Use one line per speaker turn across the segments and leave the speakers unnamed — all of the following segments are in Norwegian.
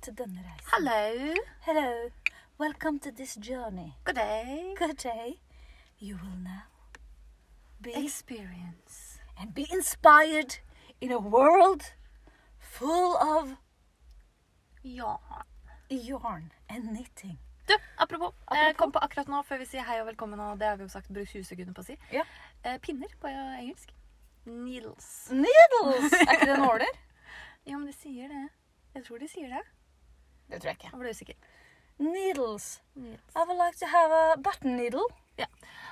til denne reisen.
Hello.
Hello. Welcome to this journey.
Good day.
Good day. You will now be
Experience.
and be inspired in a world full of
Ja.
yarn and knitting.
Du, apropos. Jeg
Apropos.
kom på akkurat nå før vi sier hei og velkommen, og det har vi jo sagt brukt 20 sekunder på å si.
Ja.
Eh, Pinner på engelsk. Needles.
Needles! Er ikke det nåler?
Jo, men de sier det. Jeg tror de sier det.
Det tror jeg ikke.
Jeg ble usikker.
Needles.
Needles.
I would like to have a button needle.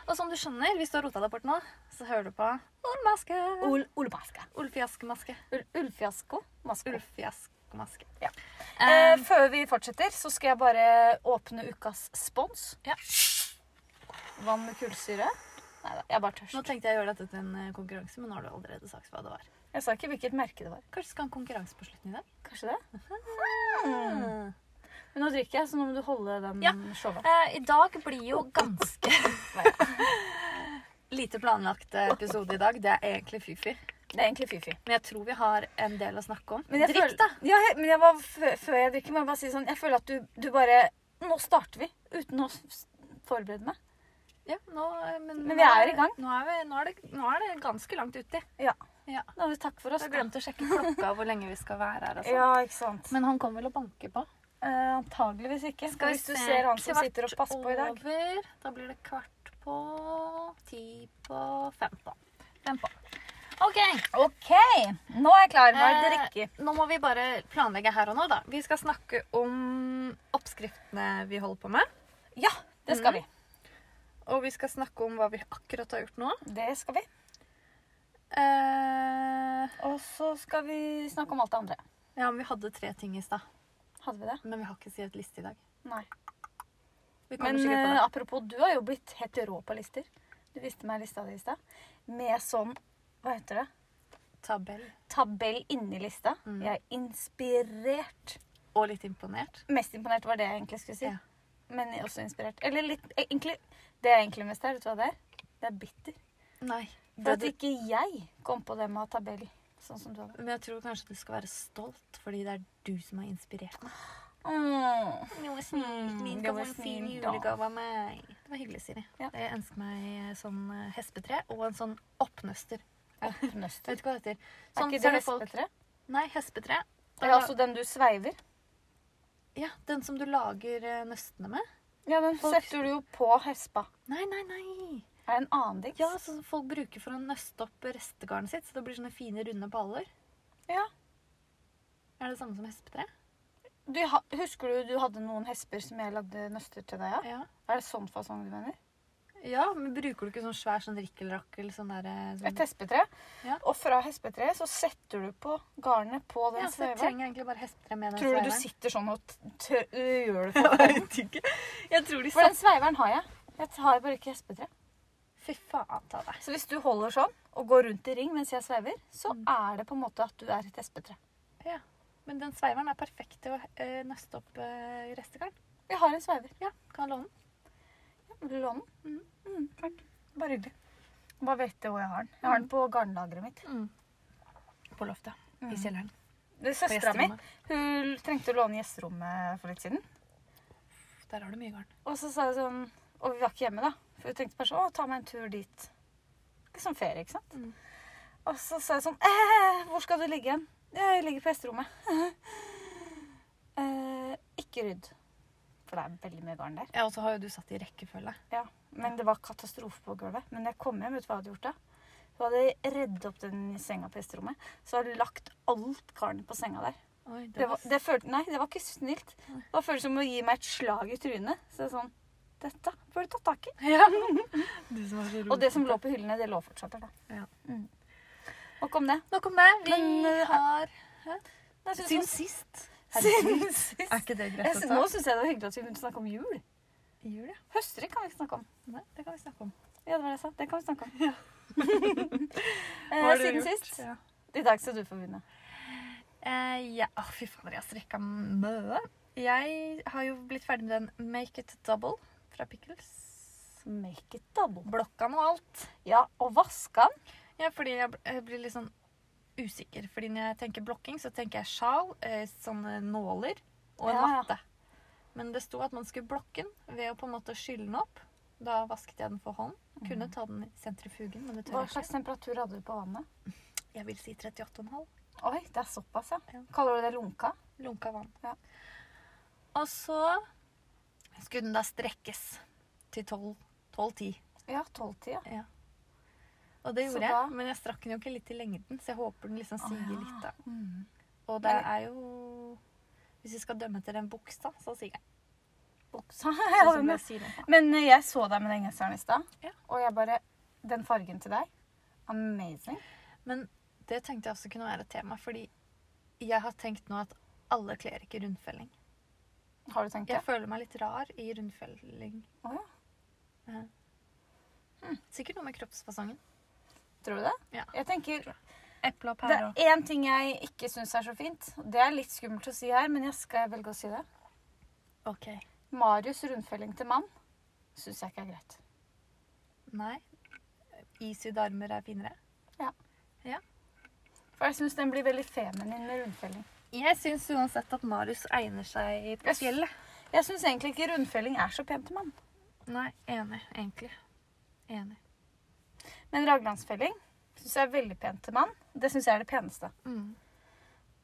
Og som du skjønner, hvis du har rota deg bort nå, så hører du på Olmaske.
Ol Olbaska.
Ulfjaskemaske.
Ul Ulfiasko. Masko.
Ulfjaskemaske.
Ja. Eh,
Eh,
før vi fortsetter, så skal jeg bare åpne ukas spons.
Ja.
Vann med kullsyre. Nei da, jeg er bare
nå
tørst.
tenkte jeg å gjøre dette til en eh, konkurranse, men nå har du allerede sagt hva det var.
Jeg sa ikke hvilket merke det var.
Kanskje vi skal ha en konkurranse på slutten i dag?
Kanskje det? Hmm. Men nå drikker jeg, så nå må du holde den
Ja.
showet.
Eh, I dag blir jo ganske lite planlagt eh, episode i dag. Det er egentlig fy-fy.
Det er egentlig fy-fy.
Men jeg tror vi har en del å snakke om.
Men jeg
Drikk,
føler-
da!
Ja, jeg, men jeg var, før, før jeg drikker, må jeg bare si sånn Jeg føler at du, du bare Nå starter vi uten å s- forberede meg.
Ja, nå, eh, men,
Men vi er i gang.
Nå er, vi, nå, er det, nå er det ganske langt uti.
Ja.
Ja.
Da har vi takk for
Jeg
oss.
har glemt å sjekke klokka hvor lenge vi skal være her. og sånn.
Ja, ikke sant.
Men han kommer vel og banker på.
Eh, antageligvis ikke. for Hvis du ser han som sitter og passer på i dag.
Over. Da blir det kvart på ti på fem på. Fem på. OK.
OK, nå er jeg klar. Hva er det
Eh,
drikke?
Nå må vi bare planlegge her og nå, da. Vi skal snakke om oppskriftene vi holder på med.
Ja, det skal vi.
Og vi skal snakke om hva vi akkurat har gjort nå.
Det skal vi.
Eh,
Og så skal vi snakke om alt det andre.
ja, men vi hadde tre ting i stad.
Hadde vi det?
Men vi har ikke skrevet liste i dag.
Nei.
Vi kommer
Men
sikkert på
eh,
det.
apropos, du har jo blitt helt rå på lister. Du viste meg lista di i stad. Med sånn Hva heter det?
Tabell.
Tabell inni lista.
Mm.
Jeg er inspirert.
Og litt imponert.
Mest imponert var det jeg egentlig skulle si.
Ja.
Men også inspirert. Eller litt e, egentlig, Det jeg egentlig mest er, vet du hva det er? Det er bitter.
Nei.
For at ikke jeg kom på det med å ha tabell. Sånn som du hadde.
Men jeg tror kanskje du skal være stolt, fordi det er du som har inspirert meg.
Mm.
Noe
Mm,
Min
det
kom
var
en fin
snilt, da.
julegave av meg. Det var hyggelig, Siri.
Ja.
Jeg ønsker meg sånn eh, hespetre og en sånn oppnøster. Jeg
Oppnøster.
vet ikke hva det heter.
Er
Sånn
ikke
ser
det
det folk.
hespetre?
Nei, hespetre.
Det er altså den du sveiver.
ja, den som du lager eh, nøstene med.
Ja, den
Folk-
setter du jo på hespa.
Nei, nei, nei.
Er det en annen dings?
Ja, sånn som folk bruker for å nøste opp restegarnet sitt, så det blir sånne fine, runde baller.
Ja.
Er det det samme som hespetre?
Du, ha- husker du du hadde noen hesper som jeg lagde nøster til deg av?
Ja.
Er det sånn fasong du mener?
ja, men bruker du ikke sånn svær sånn rikkelrakkel, sånn derre
Et hespetre.
Ja.
Og fra hespetreet så setter du på garnet på den
Ja, så
sveiveren.
jeg trenger egentlig bare hespetre med den
Tror du du
sveiveren.
sitter sånn og t- tø- øh, gjør det for
Jeg vet ikke. Jeg tror de
For
sa
den sveiveren har jeg. Jeg har bare ikke hespetre.
Fy faen ta deg.
Så hvis du holder sånn og går rundt i ring mens jeg sveiver, så er det på en måte at du er et hespetre.
Ja. Men den sveiveren er perfekt til å eh, nøste opp eh, restegarn.
Jeg har en sveiver.
Ja, kan jeg låne den?
Vil du låne den?
Mm.
Mm, takk. Bare hyggelig. Bare vet jeg hvor jeg har den. Jeg har den på garnlageret mitt.
På loftet. I kjelleren.
Det er Søstera mi hun trengte å låne gjesterommet for litt siden.
Der har du mye garn.
Og så sa jeg sånn Og vi var ikke hjemme, da. For hun tenkte bare sånn Å, ta meg en tur dit. Ikke som ferie, ikke sant?
Mm.
Og så sa jeg sånn eh, Hvor skal du ligge hen? Jeg ligger på gjesterommet. eh, ikke rydd. For det er veldig mye garn der.
Ja, og så har jo du satt i rekkefølge.
Ja, Men det var katastrofe på gulvet. Men jeg kom hjem, vet du hva jeg hadde gjort da? Hun hadde redd opp den senga på gjesterommet. Så hadde hun lagt alt garnet på senga der.
Oi,
Det var, det følte, nei, det var ikke snilt. Det var føltes som å gi meg et slag i trynet. Så jeg sånn, dette bør du ta tak i.
Ja. Du som var så rolig.
Og det som lå på hyllene, det lå fortsatt der. da.
Mm. Ja.
Mm. Nok om det.
Nok om det. Vi
Men, eh,
har
Nei, jeg synes-
Siden sist.
Siden sist.
Er ikke det
Jeg
greit å
synes-
ta?
Nå syns jeg det var hyggelig at vi begynte å snakke om jul.
Jul, ja.
Høsttrykk kan vi ikke snakke om.
Nei, det kan vi snakke om.
Ja, det var det jeg sa. Det kan vi snakke om.
Hva
eh,
har du
siden
gjort?
sist.
Ja.
I dag skal du få begynne.
Eh, ja. Å, fy fader, jeg har strekka mye. Jeg har jo blitt ferdig med den Make it double fra Pickles.
Make it double.
Blokka og alt.
Ja, og vaske den.
Ja, fordi jeg, bl- jeg blir litt sånn usikker. Fordi når jeg tenker blokking, så tenker jeg sjal, eh, sånne nåler og en
Ja, ja.
matte. Men det sto at man skulle blokke den ved å på en måte skylle den opp. Da vasket jeg den for hånd. Kunne ta den i sentrifugen, men det
Mhm.
tør
Hva
jeg
slags
ikke.
temperatur hadde du på vannet?
Jeg vil si 38,5.
Oi, det er såpass, ja.
Ja.
Kaller du det lunka?
Lunka vann.
Ja.
Og så skulle den da strekkes til 12 12-10.
Ja, tolvtida.
Ja. Og det
Så
gjorde
da-
jeg, men jeg strakk den jo ikke litt i lengden, så jeg håper den liksom
Å,
sier
ja.
litt, da.
Mm.
Og det
Men-
er jo Hvis vi skal dømme etter en buks, da, så sier jeg
Buksa.
sånn
Ja,
som
men-
jeg sier nå.
Men eh, jeg så deg med den genseren i stad,
Ja.
og jeg bare Den fargen til deg. Amazing.
Men det tenkte jeg også kunne være et tema, fordi jeg har tenkt nå at alle kler ikke rundfelling.
Har du tenkt det?
Jeg føler meg litt rar i rundfelling.
Å ja.
Ja. Sikkert noe med kroppsfasongen.
Tror du det?
Ja.
Jeg tenker
Eple og
Det er én ting jeg ikke syns er så fint. Det er litt skummelt å si her, men jeg skal velge å si det.
Ok.
Marius rundfelling til mann syns jeg ikke er greit.
Nei. Isydde armer er finere.
For jeg syns den blir veldig feminin med rundfelling.
Jeg syns uansett at Marius egner seg på
Yes.
fjellet.
Jeg syns egentlig ikke rundfelling er så pent til mann.
Nei, enig, egentlig. Enig.
Men raglandsfelling syns jeg er veldig pent til mann. Det syns jeg er det peneste.
Mm.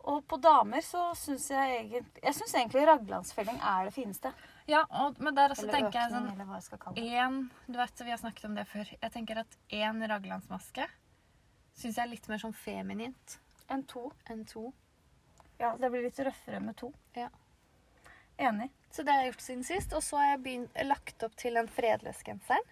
Og på damer så syns jeg egentlig Jeg syns egentlig raglandsfelling er det fineste.
Ja, og, men der også
Eller
tenker jeg
økning,
sånn
eller hva jeg skal kalle det.
én Du vet, vi har snakket om det før. Jeg tenker at én raglandsmaske syns jeg er litt mer sånn feminint
En to.
enn to.
Ja, det blir litt røffere med to.
Ja.
Enig.
Så det har jeg gjort siden sist. Og så har jeg begynt, lagt opp til den fredløsgenseren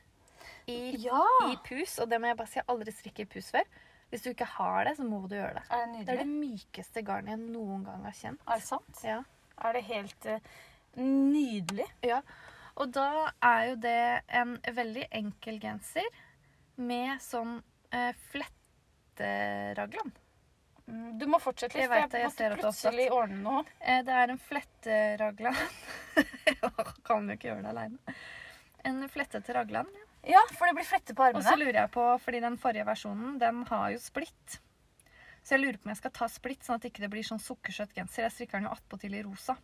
i,
Ja!
i pus. Og det må jeg bare si, jeg har aldri strikket i pus før. Hvis du ikke har det, så må du gjøre det.
Er det
Det er
nydelig?
det mykeste garnet jeg noen gang har kjent.
Er det sant?
Ja.
Er det helt eh, nydelig?
Ja, og da er jo det en veldig enkel genser med sånn eh, fletteraglan.
Mm, Du må fortsette litt,
Jeg
for jeg
vet det, jeg
måtte
ser at du har
plutselig ordne noe.
Eh, det er en fletteraglan. kan jo ikke gjøre det aleine. En flettete raglan.
Ja, for det blir flette på
Og så
armene.
lurer jeg på, fordi den forrige versjonen, den har jo splitt. Så jeg lurer på om jeg skal ta splitt, sånn at det ikke blir sånn sukkersøt genser. Jeg strikker den jo attpåtil i rosa.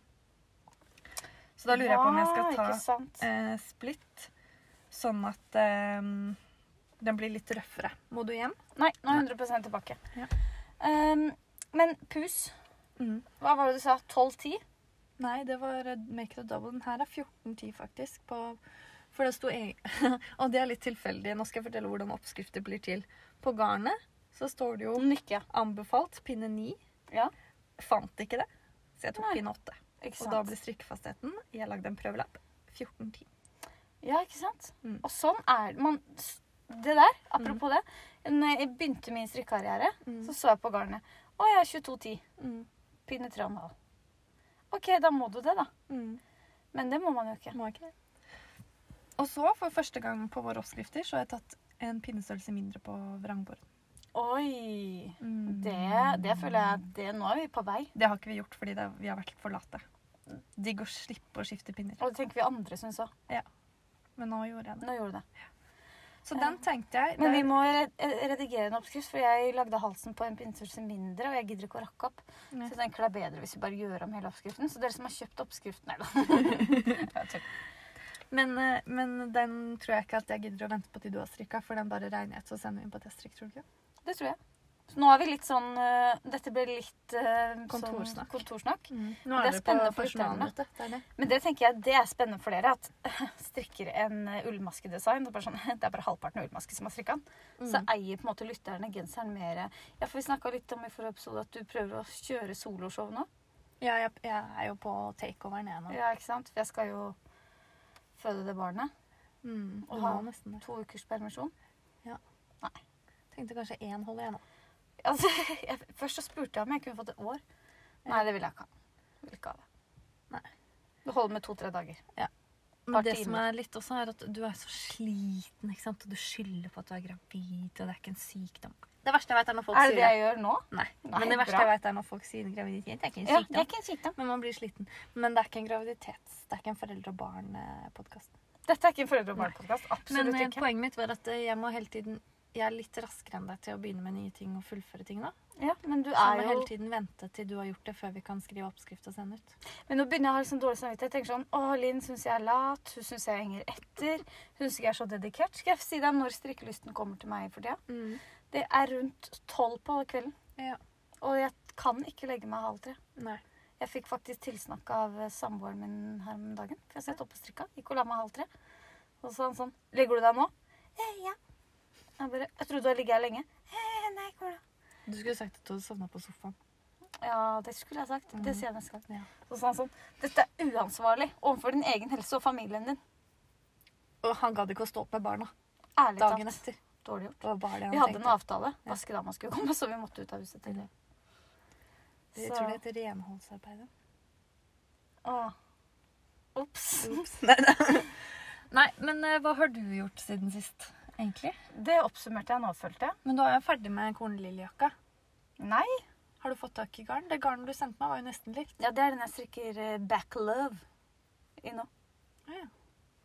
Så da lurer jeg på om jeg skal ta
Ja, ikke sant.
eh, splitt, sånn at eh, den blir litt røffere. Må du hjem?
Nei, nå er jeg 100 tilbake.
Ja.
Ehm, men pus,
Mm.
hva var det du sa? 12-10?
Nei, det var eh, make it a double. Den her er 14-10 faktisk. På, for det sto egen... Og det er litt tilfeldig. Nå skal jeg fortelle hvordan oppskrifter blir til. På garnet så står det jo
Nykke.
anbefalt pinne 9.
Ja.
Fant ikke det, så jeg tok
Nei,
pinne 8.
Ikke
Og
sant?
da ble strikkefastheten Jeg lagde en prøvelapp. 14-10.
Ja, ikke sant?
Mm.
Og sånn er det. man s- Det der, apropos det. Når jeg begynte min strikkekarriere,
Mm.
så så jeg på garnet. Å, jeg har 22-10.
Mm.
Pinne 3,5. OK, da må du det, da.
Mm.
Men det må man jo ikke.
Må jeg ikke det? Og så, for første gang på våre oppskrifter, så har jeg tatt en pinnestørrelse mindre på vrangbord.
Oi!
Mm.
Det, det føler jeg at det, Nå er vi på vei.
Det har ikke vi gjort fordi det, vi har vært for late. Digg å slippe å skifte pinner.
Og det tenker vi andre syns òg.
Men nå gjorde jeg det.
Nå gjorde du det.
Så den tenkte jeg
Men vi
det-
må re- redigere en oppskrift, for jeg lagde halsen på en pinnestørrelse mindre, og jeg gidder ikke å rakke opp.
Nei.
Så jeg tenker det er bedre hvis vi bare gjør om hele oppskriften. Så dere som har kjøpt oppskriften, eller
men, eh, men den tror jeg ikke at jeg gidder å vente på til du har strikka, for den bare regner jeg ut, så sender vi inn på teststrikk, tror du ikke?
Det tror jeg. Så nå er vi litt sånn øh, Dette ble litt øh,
Kontorsnakk.
Sånn, kontorsnakk.
Mm. Nå
Det er
er det på
spennende for lytterne.
personalmøte. Det er det.
Men det tenker jeg, det er spennende for dere at strikker en øh, ullmaskedesign Det er bare, sånn, det er bare halvparten av ullmaske som har strikka den.
Mm.
Så eier på en måte lytterne genseren mer øh, Ja, for vi snakka litt om i forrige episode at du prøver å kjøre soloshow nå.
Ja, jeg, jeg er jo på takeoveren, jeg nå.
Ja, ikke sant? For jeg skal jo føde det barnet.
Mm,
Og
du
ha-
må nesten det.
To ukers permisjon.
Tenkte kanskje én holder, jeg nå.
Altså, jeg, først så spurte jeg om jeg kunne fått et år. Nei, det ville jeg ikke ha. Vil ikke ha det.
Nei.
Det holder med to-tre dager.
Men
par
det som
timer.
er litt også, er at du er så sliten, ikke sant? og du skylder på at du er gravid, og det er ikke en sykdom. Det verste jeg vet, er når
Er
folk
det det
sier det.
jeg gjør nå?
Nei.
Nei,
Men det verste
bra.
jeg vet, er når folk sier graviditet. Det er ikke en
Ja, det
sykdom.
er ikke en sykdom.
Men man blir sliten. Men det er ikke en graviditets... Det er ikke en foreldre og barn-podkast.
Dette er ikke en foreldre og barn-podkast.
Men
Absolutt
eh,
ikke.
poenget mitt var at eh, jeg må hele tiden jeg er litt raskere enn deg til å begynne med nye ting og fullføre ting nå.
Ja, men du
Så jeg
er
må
jo
hele tiden vente til du har gjort det, før vi kan skrive oppskrift og sende ut.
Men nå begynner jeg å ha litt sånn dårlig samvittighet. Jeg tenker sånn, Å, Linn syns jeg er lat. Hun syns jeg henger etter. Hun syns jeg er så dedikert. Skal jeg si deg når strikkelysten kommer til meg for tida?
Mm.
Det er rundt tolv på kvelden.
Ja.
Og jeg kan ikke legge meg halv tre.
Nei.
Jeg fikk faktisk tilsnakk av eh, samboeren min her om dagen. For jeg satt oppe og strikka. Gikk og la meg halv tre. Og så sa han sånn 'Legger du deg nå?' Eh, ja. Jeg bare 'Jeg trodde du hadde ligget her lenge'. Eh, nei, jeg går da.
Du skulle sagt at du hadde sovna på sofaen.
Ja, det skulle jeg sagt. Det
Mhm.
sier jeg neste gang.
Ja.
Så sa han sånn 'Dette er uansvarlig overfor din egen helse og familien din'.
Og han gadd ikke å stå opp med barna
Ærlig
dagen
talt.
etter.
Dårlig gjort.
Det var bare det han
Vi hadde en
tenkte.
avtale.
Ja.
Vaskedama skulle komme, så vi måtte ut av huset tidlig.
Jeg
Så-
tror det heter renholdsarbeidet.
Åh. Ops.
Nei, nei. nei, men eh, hva har du gjort siden sist, egentlig?
Det oppsummerte jeg nå, følte jeg.
Men du er jo ferdig med kornlillejakka.
Nei.
Har du fått tak i garn? Det garnet du sendte meg, var jo nesten likt.
Ja, det er den jeg strikker eh, back love i nå.
Ja, ja.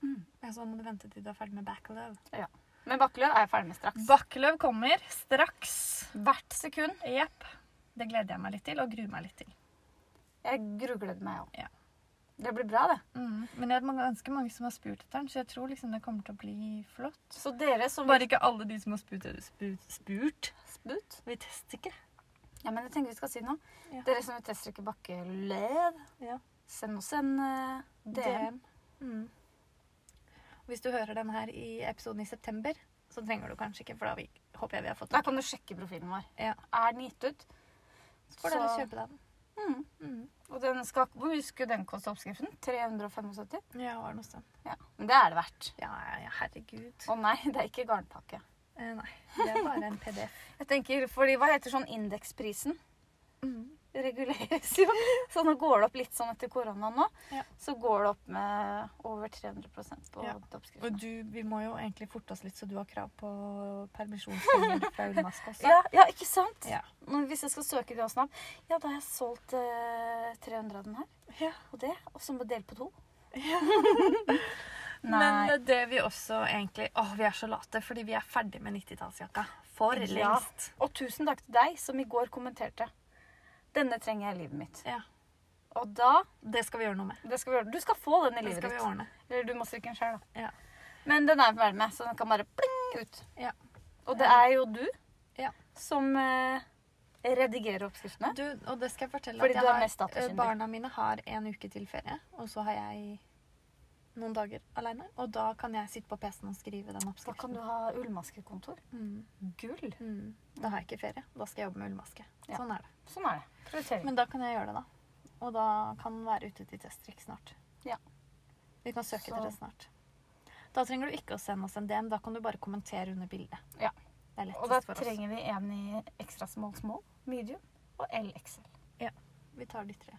Mm.
Ja, Så må du vente til du er ferdig med backløv.
Men bakkeløv er jeg ferdig med straks.
Bakkeløv Mm. kommer straks.
Hvert sekund.
Jepp. Det gleder jeg meg litt til, og gruer meg litt til.
Jeg grugleder meg òg.
Ja.
Det blir bra, det.
Men jeg har ganske mange som har spurt etter den, så jeg tror liksom det kommer til å bli flott.
Så dere som
Bare ikke alle de som har spurt. spurt, spurt.
Sput?
Vi tester ikke.
Ja, men jeg tenker vi skal si noe.
Ja.
Dere som vil teststrikke bakkeløv,
Ja.
send oss en eh, DM.
DM. Mm. Hvis du hører den her i episoden i september, så trenger du kanskje ikke, for da vi, håper jeg vi har fått
Der
den.
kan du sjekke profilen vår.
Ja.
Er den gitt ut?
Så får dere kjøpe den.
Mm.
Mm.
Og den skal, hvor mye skulle den koste oppskriften? 375?
Ja, var det noe sånt.
Ja. Men det er det verdt.
Ja, ja, ja, herregud.
Å nei, det er ikke garnpakke.
Eh, nei, det er bare en PDF.
Jeg tenker, fordi Hva heter sånn indeksprisen? Mm. reguleres jo. Så nå går det opp litt sånn etter koronaen nå.
Ja.
Så går det opp med over 300 på
Ja. Og
oppskriften.
du, vi må jo egentlig forte oss litt, så du har krav på permisjonspenger fra Ullmask også.
Ja, ja, ikke sant?
Ja.
Nå, Hvis jeg skal søke det også nå, ja, da har jeg solgt eh, 300 av den her.
Ja.
Og det, og så må jeg dele på to.
Men eh,
Nei.
det vi også egentlig Å, vi er så late, fordi vi er ferdig med 90-tallsjakka. For
Ja.
lengst.
Og tusen takk til deg som i går kommenterte. Denne trenger jeg i livet mitt.
Ja.
Og da
Det skal vi gjøre noe med.
det skal vi gjøre. Du skal få den i
Det
livet
skal vi
ditt.
ordne.
Eller du må strikke den sjøl, da.
Ja.
Men den er jeg ferdig med, så den kan bare pling ut.
Ja.
Og det er jo du
Ja.
som eh, redigerer oppskriftene.
Du, og det skal jeg fortelle
Fordi
at
du
jeg
er mest datakyndig.
eh, barna mine har en uke til ferie, og så har jeg noen dager alene. Og da kan jeg sitte på PC-en og skrive den
Da kan
oppskriften.
du ha ullmaskekontor.
Mm,
Gull.
mm. Da har jeg ikke ferie. Da skal jeg jobbe med ullmaske.
Ja.
Sånn er det.
Sånn er det. Prioritering.
Men da kan jeg gjøre det, da. Og da kan den være ute til teststrikk snart.
Ja.
Vi kan søke
Så-
etter det snart. Da trenger du ikke å sende oss en DM. Da kan du bare kommentere under bildet.
Ja.
Det er
og da
lettest for oss.
trenger vi en i ekstra small small, medium og LXL.
Vi tar de tre.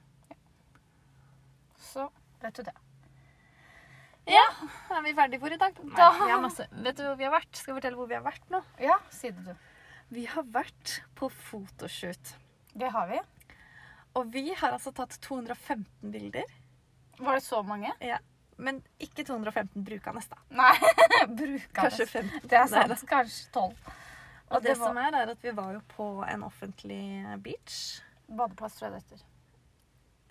Så vet du det.
Ja, da er vi ferdige for i dag.
Da-
Nei, vi har masse. Vet du hvor vi har vært? Skal jeg fortelle hvor vi har vært nå?
Ja, sier du.
Vi har vært på fotoshoot.
Det har vi.
Og vi har altså tatt 215 bilder.
Var det så mange?
Men ikke 215 brukende, da.
Nei. Bruker
Kanskje 15.
Det er
Nei,
sant.
da.
Kanskje tolv.
Og det,
var
som er, er at vi var jo på en offentlig beach.
badeplass, tror jeg det heter.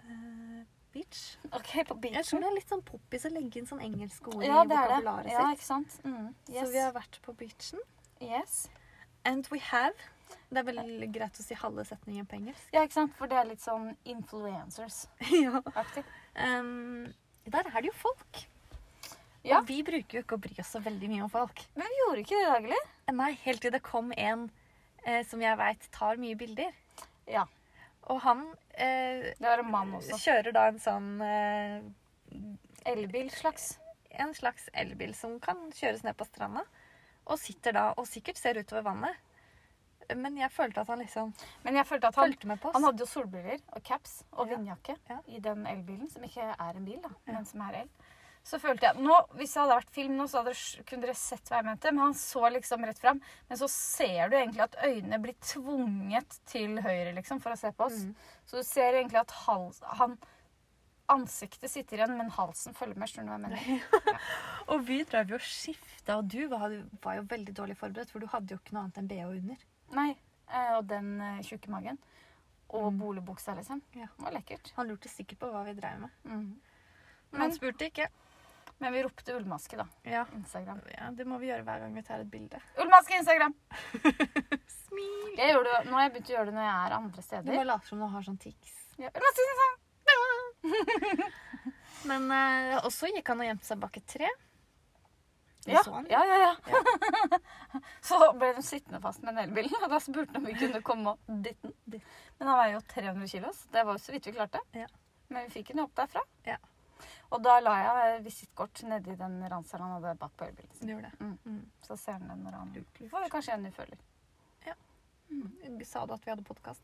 Eh, beach.
OK, på
Jeg tror
beachen.
det er litt sånn poppis å legge inn sånn engelske ord
Ja,
i
det er det.
vokabularet
Ja,
sitt.
ikke sant? Mm.
Så vi har vært på beachen.
yes.
And we have. Det er vel greit å si halve setningen på engelsk.
Ja, ikke sant? For det er litt sånn influencers-aktig.
ja. um, der er det jo folk.
Ja.
Og vi bruker jo ikke å bry oss så veldig mye om folk. Eh,
Men vi gjorde ikke det i dag, eller?
Nei, helt til det kom en eh, som jeg veit tar mye bilder.
Ja.
Og han eh,
Det var en mann også.
kjører da en sånn eh,
Elbil slags.
En slags elbil som kan kjøres ned på stranda. Og sitter da og sikkert ser utover vannet. Men jeg følte at han liksom
Men jeg følte at han,
fulgte med på oss.
han hadde jo solbriller og caps og
Ja.
vindjakke
Ja.
i den elbilen, som ikke er en bil, da,
Ja.
men som er el. Så følte jeg, nå, Hvis det hadde vært film nå, så hadde, dere- kunne dere sett hva jeg mente. Men han så liksom rett fram. Men så ser du egentlig at øynene blir tvunget til høyre liksom, for å se på oss.
Mm.
Så du ser egentlig at hals, han Ansiktet sitter igjen, men halsen følger med. skjønner du hva jeg mener?
Og vi drev jo og skifta, og du var, var jo veldig dårlig forberedt, for du hadde jo ikke noe annet enn BH under.
Nei, eh, Og den eh, tjukke magen. Og
Mm.
boligbuksa, liksom.
Ja.
Det var lekkert.
Han lurte sikkert på hva vi drev med.
Mm.
Men han
Men,
spurte ikke.
men vi ropte ullmaske, da.
Ja.
Instagram.
ja, det må vi gjøre hver gang vi tar et bilde.
Ullmaske Instagram!
Smil!
Jeg gjør det, jo- nå har jeg begynt å gjøre det når jeg er andre
Du
steder.
bare later som du har sånn tics.
Ja, ullmaske Instagram!
Men eh, også gikk han og gjemte seg bak et tre. Vi
Ja,
så han.
ja, ja, ja. Så ble de sittende fast med den elbilen, og da spurte de om vi kunne komme og dytte den.
Dytte.
Men han veier jo 300 kilo, så det var jo så vidt vi klarte.
Ja.
Men vi fikk den jo opp derfra.
Ja.
Og da la jeg visittkort nedi den ranseren han hadde bak på elbilen. sin.
Du gjorde det.
Mm.
Mm.
Så ser han den når han
Lurt, lurt.
får kanskje en ufølger.
Sa du at vi hadde podkast?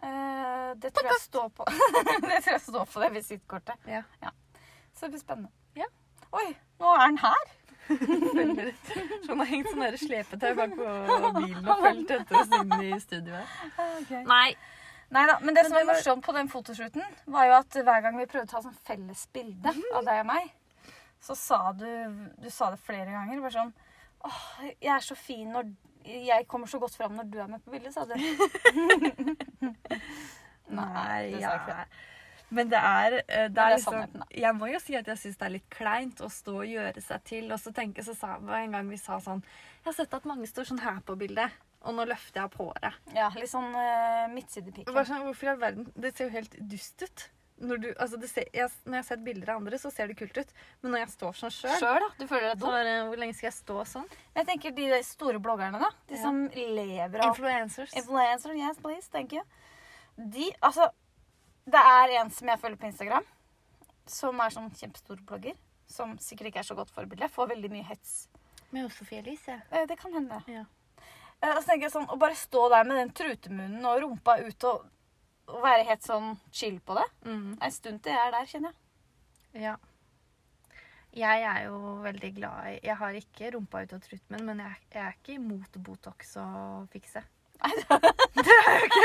Eh, det tror jeg står på Det tror jeg står på det visittkortet.
Ja.
Så det blir spennende.
Ja.
Oi, nå er han her!
Følger etter. Så han har hengt sånn der slepetau bak på bilen og fulgt etter oss inn i studioet. Nei.
Neida, men det
Men
som var
det var-
morsomt på den fotoshooten, var jo at hver gang vi prøvde å ta sånn felles bilde
Mhm.
av deg og meg, så sa du Du sa det flere ganger. Bare sånn Åh, jeg er så fin når Jeg kommer så godt fram når du er med på bildet, sa du.
Nei,
det sa
ja.
jeg ikke.
Men det er, eh, det
det
er
er sannheten,
liksom,
da.
Jeg må jo si at jeg syns det er litt kleint å stå og gjøre seg til. Og så tenke, så sa var en gang vi sa sånn Jeg har sett at mange står sånn her på bildet, og nå løfter jeg opp håret.
Ja, litt sånn uh, midtsidepiken.
Bare sånn, hvorfor i all verden? Det ser jo helt dust ut. Når, du, altså det ser, jeg, når jeg har sett bilder av andre, så ser det kult ut. Men når jeg står sånn sjøl,
Sjøl, da. Du føler deg
så
dum.
bare, hvor lenge skal jeg stå sånn?
Jeg tenker de der store bloggerne, da. De
Ja.
som lever av
Influencers.
Influencer, yes, please, thank you. De, altså Det er en som jeg følger på Instagram, som er sånn kjempestor blogger. Som sikkert ikke er så godt forbilde. Får veldig mye hets.
Men også Sofie Elise.
Eh, Det kan hende.
Ja.
Eh, Og så tenker jeg sånn, Å bare stå der med den trutemunnen og rumpa ut og, og være helt sånn chill på det
Mm,
Det er En stund til jeg er der, kjenner jeg.
ja. Jeg er jo veldig glad i Jeg har ikke rumpa ut og trutmen, men jeg, jeg er ikke imot Botox og fikse. det er jo ikke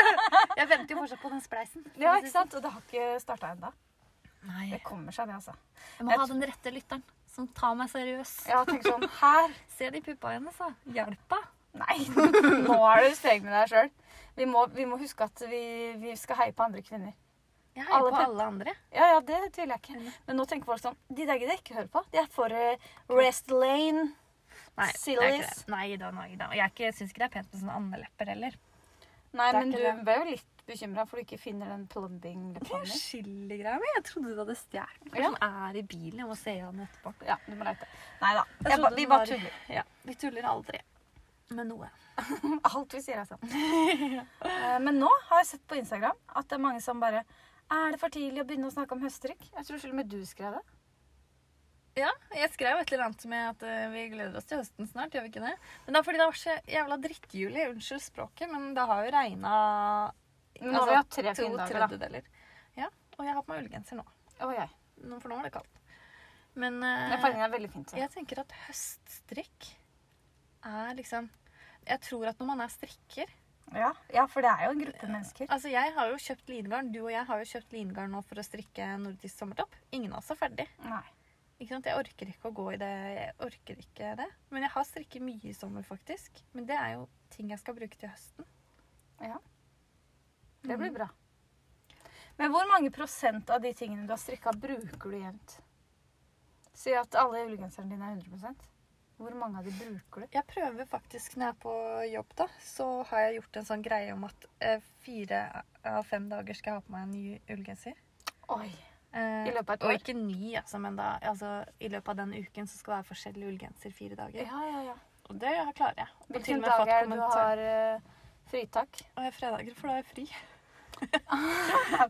Jeg venter jo fortsatt på den spleisen.
Ja, ikke sant? Og det har ikke starta ennå.
Nei.
Det kommer seg, det, altså.
Jeg må ha den rette lytteren som tar meg seriøs.
Ja, tenk sånn Her
Se de puppa hennes, da. Hjelpa.
Nei, nå er du streng med deg sjøl. Vi, må- vi må huske at vi, vi skal heie på andre kvinner.
Jeg
Alle
heier på
pupp-
alle andre.
Ja, ja, det tviler jeg ikke. Men nå tenker folk sånn De der gidder jeg ikke høre på. De er for eh, Rest Lane.
Nei, det er ikke
Sillies.
det. Nei da, nei da. Og Jeg syns ikke det er pent med sånne andelepper heller.
Nei,
Det er
men
ikke
du
det.
ble jo litt bekymra for du ikke finner den plumbing-detaljen.
Chili-greia mi. Jeg trodde du hadde stjålet
Ja.
er i bilen. Jeg må se han etterpå.
Ja, du må leite. Nei da. Jeg
Jeg
ba,
trodde
vi
den var-
bare tuller.
Ja, vi tuller aldri med noe.
Alt vi sier er sant. Eh, Men nå har jeg sett på Instagram at det er mange som bare Er det for tidlig å begynne å snakke om høstdrikk? Jeg tror til og med du skrev det.
Ja, jeg skrev et eller annet med at eh, vi gleder oss til høsten snart, gjør vi ikke det? Men det er fordi det var så jævla drittjuli, unnskyld språket, men det har jo regna
Men nå har vi hatt tre fine dager, da.
tredjedeler. Ja, og jeg har på meg ullgenser nå,
Og jeg.
Nå- for nå var det kaldt. Men
Men
eh,
fargen altså. er veldig fint.
jeg tenker at høststrikk er liksom Jeg tror at når man er strikker
Ja, ja, for det er jo en gruppe mennesker.
Altså, jeg har jo kjøpt lingarn. Du og jeg har jo kjøpt lingarn nå for å strikke nordisk sommertopp. Ingen av oss er ferdig.
Nei.
Ikke sant? Jeg orker ikke å gå i det. Jeg orker ikke det. Men jeg har strikket mye i sommer, faktisk. Men det er jo ting jeg skal bruke til høsten. Mm.
Ja. Det blir bra. Men hvor mange prosent av de tingene du har strikka, bruker du jevnt? Si at alle ullgenserne dine er 100 Hvor mange av de bruker du?
Jeg prøver faktisk når jeg er på jobb, da, så har jeg gjort en sånn greie om at eh, fire av fem dager skal jeg ha på meg en ny ullgenser.
Oi.
Eh,
I løpet av et år?
Og ikke ny, altså, men da, altså, i løpet av den uken så skal det være forskjellig ullgenser fire dager.
Ja, ja, ja.
Og det klarer jeg. Og til
Hvilken
og med fått
dag er det du har
kommentar-
eh, fritak?
Og jeg har fredager, for da er jeg fri.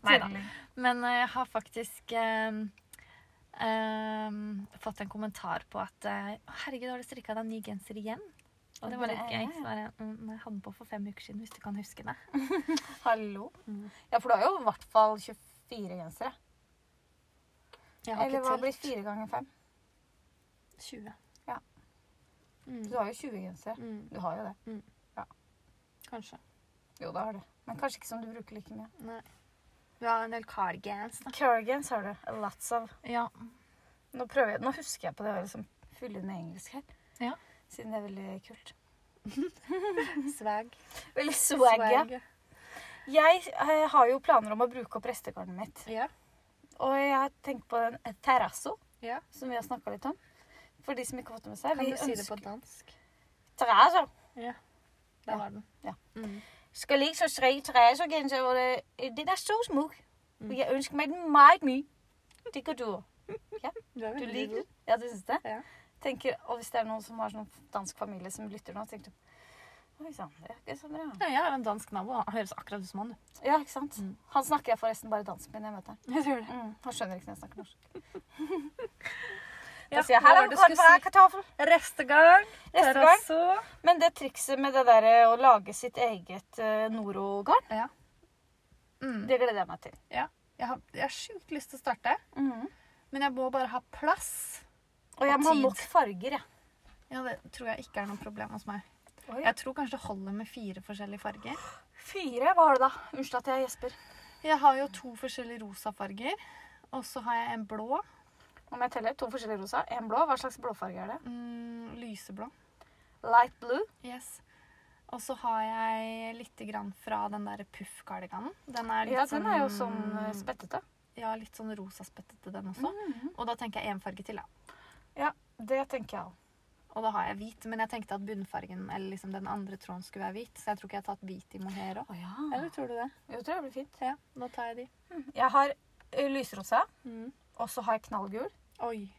Nei da.
Nei,
Men eh, jeg har faktisk ehm, ehm, fått en kommentar på at eh, «Å, Herregud, har du strikka deg ny genser igjen? Og det var litt gøy. Så bare, mm, nei, jeg hadde den på for fem uker siden, hvis du kan huske det.
Hallo?
Mm.
Ja, for du har jo i hvert fall 24 gensere.
Jeg har
Eller hva
ikke
blir
telt.
fire ganger fem?
20.
Ja.
Mm.
Du har jo 20 gensere.
Mm.
Du har jo det.
Kanskje.
Jo, det har du. Men kanskje ikke som du bruker like mye.
Nei. Men Vi har en del cardigans. da.
Cargans har du. Lots of.
Ja.
Nå, prøver jeg, nå husker jeg på det å liksom fylle inn med engelsk her.
Ja.
Siden det er veldig kult.
Swag.
Veldig swag, ja. Jeg eh, har jo planer om å bruke opp restegarnet mitt.
Ja.
Og jeg har tenkt på en terrasso,
Ja.
som vi har snakka litt om. For de som ikke har fått det med seg.
Kan
vi
du si det på
ønsker-
dansk?
Terrasso.
Der
Ja.
var den.
Ja.
Mm.
Skal ligge så tre terrassogenser, hvor det, den er så smuk.
Mm.
Og jeg ønsker meg den meget mye. Det går du også.
Du er
Du
veldig
liker
god.
den? Ja, du syns det?
Ja.
Tenker, og hvis det er noen som har sånn dansk familie som lytter nå, tenker du Oi sann, det er ikke så bra.
Ja, jeg har en dansk nabo. Han høres akkurat ut som han, du.
Ja, ikke sant?
Mm.
Han snakker jeg forresten bare dansk med når jeg møter han.
Jeg tror
Mm, han skjønner ikke når jeg snakker norsk.
Ja,
Da sier Altså, jeg
hva var
'hallo,
det du
hva
skulle si?
er kartoffel?'
Restegarn.
Neste gang. Men det trikset med det der eh, å lage sitt eget eh, Noro-garn,
Ja. Mm.
det gleder jeg meg til.
Jeg har, jeg har sjukt lyst til å starte, men jeg må bare ha plass.
Og jeg
Mm. Og
må ha
tid.
nok farger, jeg.
Ja, Det tror jeg ikke er noe problem hos meg.
Oi.
Jeg tror kanskje det holder med fire forskjellige farger.
Fire var det da. Unnskyld at jeg gjesper.
Jeg har jo to forskjellige rosa farger, og så har jeg en blå.
Om jeg teller to forskjellige rosa, en blå. Hva slags blåfarge er det?
Mm, lyseblå.
Light blue.
Yes. Og så har jeg litt grann fra den der puff-kardiganen. Den er litt
Ja, den er jo sånn eh,
sånn Mm.
spettete.
Ja, litt sånn rosa-spettete, den også. Og da tenker jeg én farge til, da.
Ja, det tenker jeg òg.
Og da har jeg hvit, men jeg tenkte at bunnfargen eller liksom den andre tråden skulle være hvit, så jeg tror ikke jeg har tatt hvit i mohair òg.
Å ja.
Eller tror du det?
Jo, tror jeg blir fint.
Ja, nå tar jeg de.
Jeg har eh, lysrosa,
Mm.
og så har jeg knallgul.
Oi.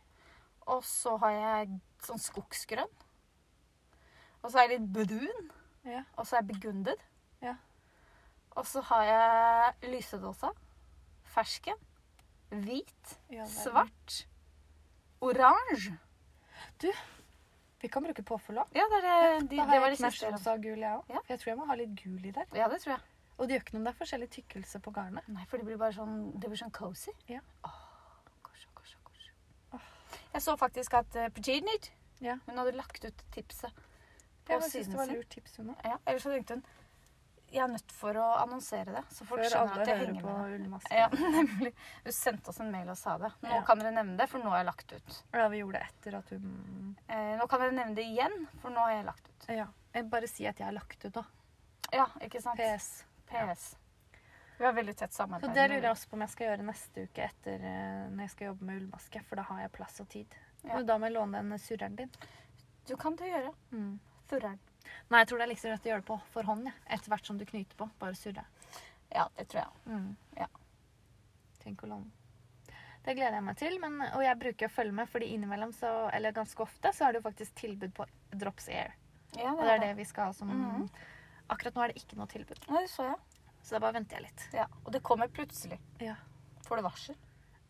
Og så har jeg sånn skogsgrønn. Og så er jeg litt brun.
Ja.
Og så er jeg begunded.
Ja.
Og så har jeg lysedåsa. Fersken. Hvit.
Ja, verden.
Svart. Oransje.
Vi kan bruke påfyll òg.
Ja, det, er, det- Eh, de,
Da
det
har
var
jeg
de siste.
knæsjrosa og gul, jeg òg.
Ja.
For jeg tror jeg må ha litt gul i der.
Ja, det tror jeg.
Og det gjør ikke noe om det er forskjellig tykkelse på garnet.
Nei, for det blir bare sånn, det blir sånn cozy.
Ja.
Åh, kosje, kosje, kosje. Jeg så faktisk at uh, Pajinid,
Ja.
hun hadde lagt ut tipset på
Jeg syns
siden
det var
sin.
lurt tips, Una.
Ja, ellers så tenkte hun jeg er nødt for å annonsere det, så folk
Før
skjønner
alle
at jeg
hører
henger
på
med.
ullmasken.
det. Ja, nemlig. Hun sendte oss en mail og sa det. Nå
Ja.
kan dere nevne det, for nå har jeg lagt ut.
Ja, vi gjorde det etter at hun
Eh, nå kan dere nevne det igjen, for nå har jeg lagt ut.
Ja. Jeg bare si at jeg har lagt ut, da.
Ja, ikke sant?
PS.
PS. Vi har veldig tett
Så
samarbeid.
det lurer
med
jeg
dem.
også på om jeg skal gjøre neste uke etter eh, når jeg skal jobbe med ullmaske, for da har jeg plass og tid.
Ja.
Men da må jeg låne den surreren din.
Du kan det gjøre.
Mm.
Furren.
Nei, jeg tror det er like så greit å gjøre det på for hånd, ja. etter hvert som du knyter på. Bare surre.
Ja, det tror jeg.
Mm.
Ja.
Tenk å låne. Det gleder jeg meg til, men, og jeg bruker å følge med, fordi innimellom, så, eller ganske ofte, så er det jo faktisk tilbud på Drops Air.
Ja,
Og det er det vi skal ha som
Mhm.
Akkurat nå er det ikke noe tilbud,
Ja, det så jeg.
så da bare venter jeg litt.
Ja. Og det kommer plutselig.
Ja.
Får du varsel?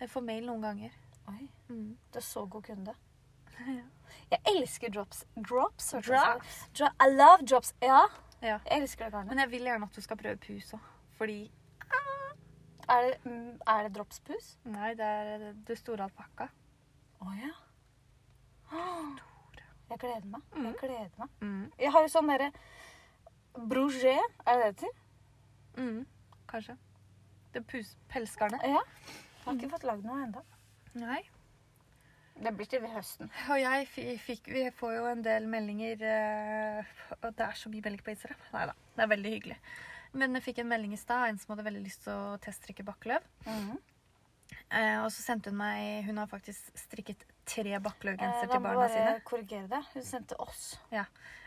Jeg får mail noen ganger.
Oi.
Mm.
Du er så god kunde. Jeg elsker drops. Drops? hørte jeg
Drops?
si. Dro I love drops. Ja.
Ja.
Jeg elsker det garnet.
Men jeg vil gjerne at du skal prøve pus òg, fordi
Er det, mm, er det dropspus?
Nei, det er eh, det store alpakka.
Å ja. Jeg gleder meg. Jeg gleder meg.
Mm.
Jeg har jo sånn derre Brogé, er det det til?
Mm. Kanskje. Det pus pelsgarnet.
Ja. Jeg har ikke fått lagd noe ennå.
Nei.
Det blir til høsten.
Og jeg fi- fikk Vi får jo en del meldinger eh, Og det er så mye meldinger på Instagram. Nei da. Det er veldig hyggelig. Men jeg fikk en melding i stad, en som hadde veldig lyst til å teststrikke bakkeløv.
Mm.
Eh, og så sendte hun meg Hun har faktisk strikket tre
Eh,
bakkeløvgensere
da
til
må
barna
bare
sine.
korrigere det. Hun sendte oss.
Eh,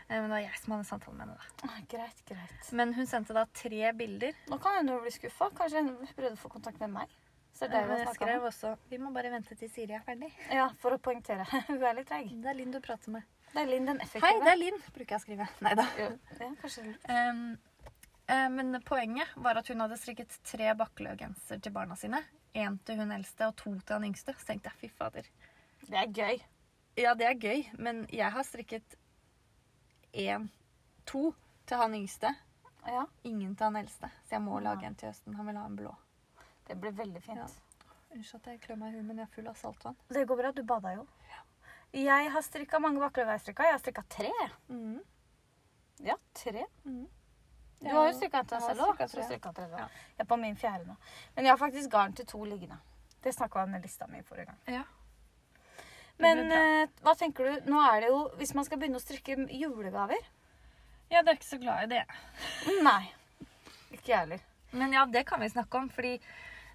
men det var jeg som hadde samtalen med henne. da.
Ah, Greit, greit.
Men hun sendte da tre bilder.
Nå kan hende hun bli skuffa. Kanskje hun prøvde å få kontakt med meg. Så det er
Eh, Men
det
jeg
hun snakker
skrev
om.
også Vi må bare vente til Siri er ferdig.
Ja, for å poengtere. hun er litt treig.
Det er Linn du prater med.
Det er Linn den
Hei, det
effektive.
er Linn, bruker jeg å skrive. Nei da.
Jo, ja, kanskje det er lurt.
eh, men poenget var at hun hadde strikket tre bakkeløvgenser til barna sine. Én til hun eldste og to til han yngste. Så tenkte jeg fy fader.
Det er gøy.
Ja, det er gøy, men jeg har strikket én, to til han yngste.
Ja,
Ingen til han eldste. Så jeg må
Ja.
lage en til høsten. Han vil ha en blå.
det blir veldig fint.
Ja. Unnskyld at jeg klør meg i huet, men jeg er full av saltvann.
Det går bra, du bada jo. Jeg har strikka mange vakre veistrikka. Jeg har strikka tre.
Mm.
Ja, tre.
Mhm.
Du har jo strikka en til deg selv òg.
Jeg har strikket til Ja.
Jeg er på min fjerde nå. Men jeg har faktisk garn til to liggende. Det snakka jeg om i lista mi forrige gang.
Ja.
Men
Det blir bra.
eh, hva tenker du? Nå er det jo Hvis man skal begynne å strikke julegaver
Ja, du er ikke så glad i det.
Mm, Nei. Ikke jeg heller.
Men ja, det kan vi snakke om, fordi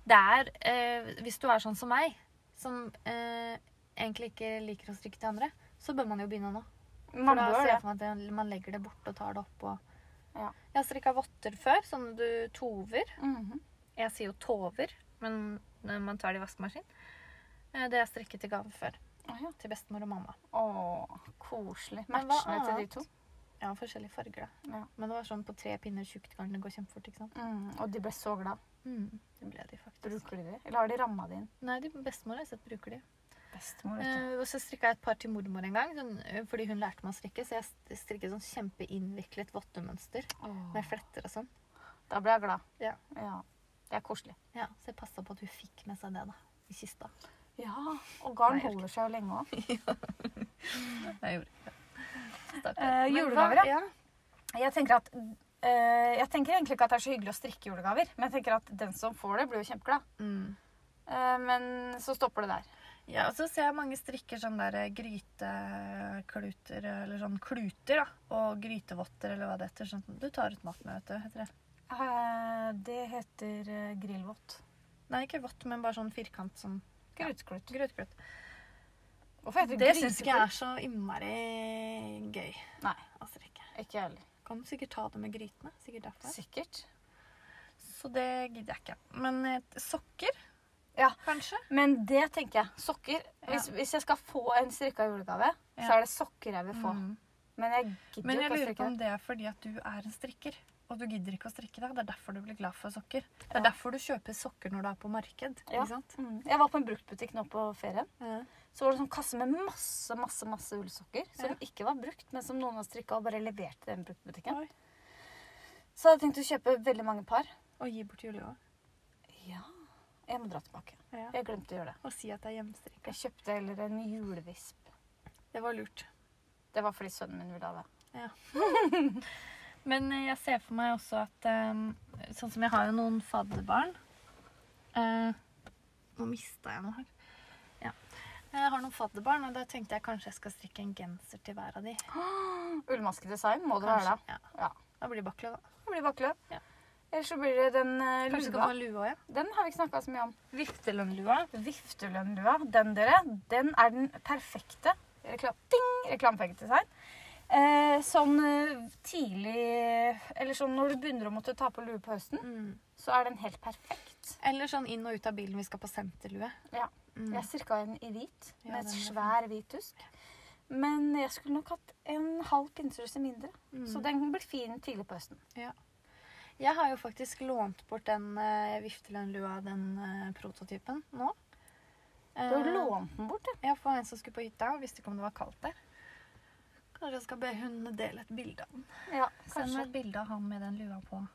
det er eh, Hvis du er sånn som meg, som eh, egentlig ikke liker å strikke til andre, så bør man jo begynne nå. For
Man
da
bør
ser
det.
jeg for meg at det- man legger det bort og tar det opp og
Ja.
Jeg har strikka votter før, sånne du tover.
Mhm.
Jeg sier jo tover, men når man tar det i vaskemaskin. Eh, Det har jeg strikket til gave før.
Å ja.
Til bestemor og mamma.
Å, koselig.
Men hva
Matchende til de
annet?
to.
Ja, forskjellige farger, da.
Ja.
Men det var sånn på tre pinner tjukt garn. Det går kjempefort, ikke sant?
Mm, og de ble så glad.
Mm. Det ble de faktisk.
Bruker de det? Eller har de ramma det inn?
Nei, de bestemor har jeg sett bruker de.
Bestemor, vet du.
Eh, og så strikka jeg et par til mormor en gang, sånn, eh, fordi hun lærte meg å strikke. Så jeg st- strikket sånn kjempeinnviklet vottemønster
Åh.
med fletter og sånn.
Da ble jeg glad.
Ja.
ja. Det er koselig.
Ja, Så jeg passa på at hun fikk med seg det da, i kista.
Ja. Og garn
Nei, jeg orker
holder seg jo lenge òg.
Jeg gjorde ikke det. Stakkar.
Eh,
Men
julegaver,
hva- ja.
Jeg tenker at eh, jeg tenker egentlig ikke at det er så hyggelig å strikke julegaver, men jeg tenker at den som får det, blir jo kjempeglad.
Mm.
Eh, men så stopper det der.
Ja, og så ser jeg mange strikker sånn der eh, grytekluter, eller sånn kluter, da. Og grytevotter, eller hva det heter. Sånn, du tar ut mat med, vet du. Heter det.
Eh, det heter uh, grillvott.
Nei, ikke vått, men bare sånn firkant sånn
Gryteklut.
gryteklut.
Hvorfor heter
Det syns
gryteklut?
ikke jeg er så innmari gøy
Nei,
å strikke.
ikke jeg heller.
Kan sikkert ta det med grytene. sikkert derfor.
Sikkert.
Så det gidder jeg ikke. Men eh, sokker,
Ja.
kanskje?
Men det tenker jeg. Sokker. Hvis, hvis jeg skal få en strikka julegave,
Ja.
så er det sokker jeg vil få.
Mm.
Men jeg gidder
Men
jo
jeg
ikke å
lurer på
strikke.
om det er fordi at du er en strikker. Og du gidder ikke å strikke deg. Det er derfor du blir glad for sokker. Det er
Ja.
derfor du kjøper sokker når du er på marked.
Ja.
ikke sant?
Mm. Jeg var på en bruktbutikk nå på ferien.
Ja.
Så var det sånn kasse med masse masse, masse ullsokker som
Ja.
ikke var brukt, men som noen hadde strikka og bare levert til den bruktbutikken.
Oi.
Så hadde jeg tenkt å kjøpe veldig mange par.
Og gi bort til Julie òg.
Ja, jeg må dra tilbake.
Ja.
Jeg glemte å gjøre det.
Og si at det er hjemmestrikka.
Jeg kjøpte heller en julevisp.
Det var lurt.
Det var fordi sønnen min ville ha det.
Men eh, jeg ser for meg også at eh, Sånn som jeg har jo noen fadderbarn eh, Nå mista jeg noe her. Ja. Jeg har noen fadderbarn, og da tenkte jeg kanskje jeg skal strikke en genser til hver av de.
Mm, Ullmaskedesign må dere ha. da.
ja.
Ja.
Da blir det bakløv, da.
Det blir bakkeløp.
Ja.
Eller så blir det den eh,
Kanskje skal
lua.
få en lue òg, ja.
Den har vi ikke snakka så mye om.
Viftelønnlua.
Viftelønnlua, den dere, den er den perfekte reklam ding, reklamepengedesign. Eh, sånn eh, tidlig Eller sånn når du begynner å måtte ta på lue på høsten,
Mm.
så er den helt perfekt.
Eller sånn inn og ut av bilen vi skal på senterlue.
Ja.
Mm.
Jeg strikka en i hvit, med
Ja,
et
den er fin.
svær hvit tusk. Men jeg skulle nok hatt en halv pinserøse mindre,
Mm.
så den blir fin tidlig på høsten.
Jeg har jo faktisk lånt bort den uh, viftelønnlua, den eh, prototypen, nå.
Du har
Eh,
lånt den bort, du.
Ja, for en som skulle på hytta, og visste ikke om det var kaldt der. Kanskje jeg skal be hun dele et bilde av den.
Ja,
Send meg
kanskje.
et bilde av han med den lua på.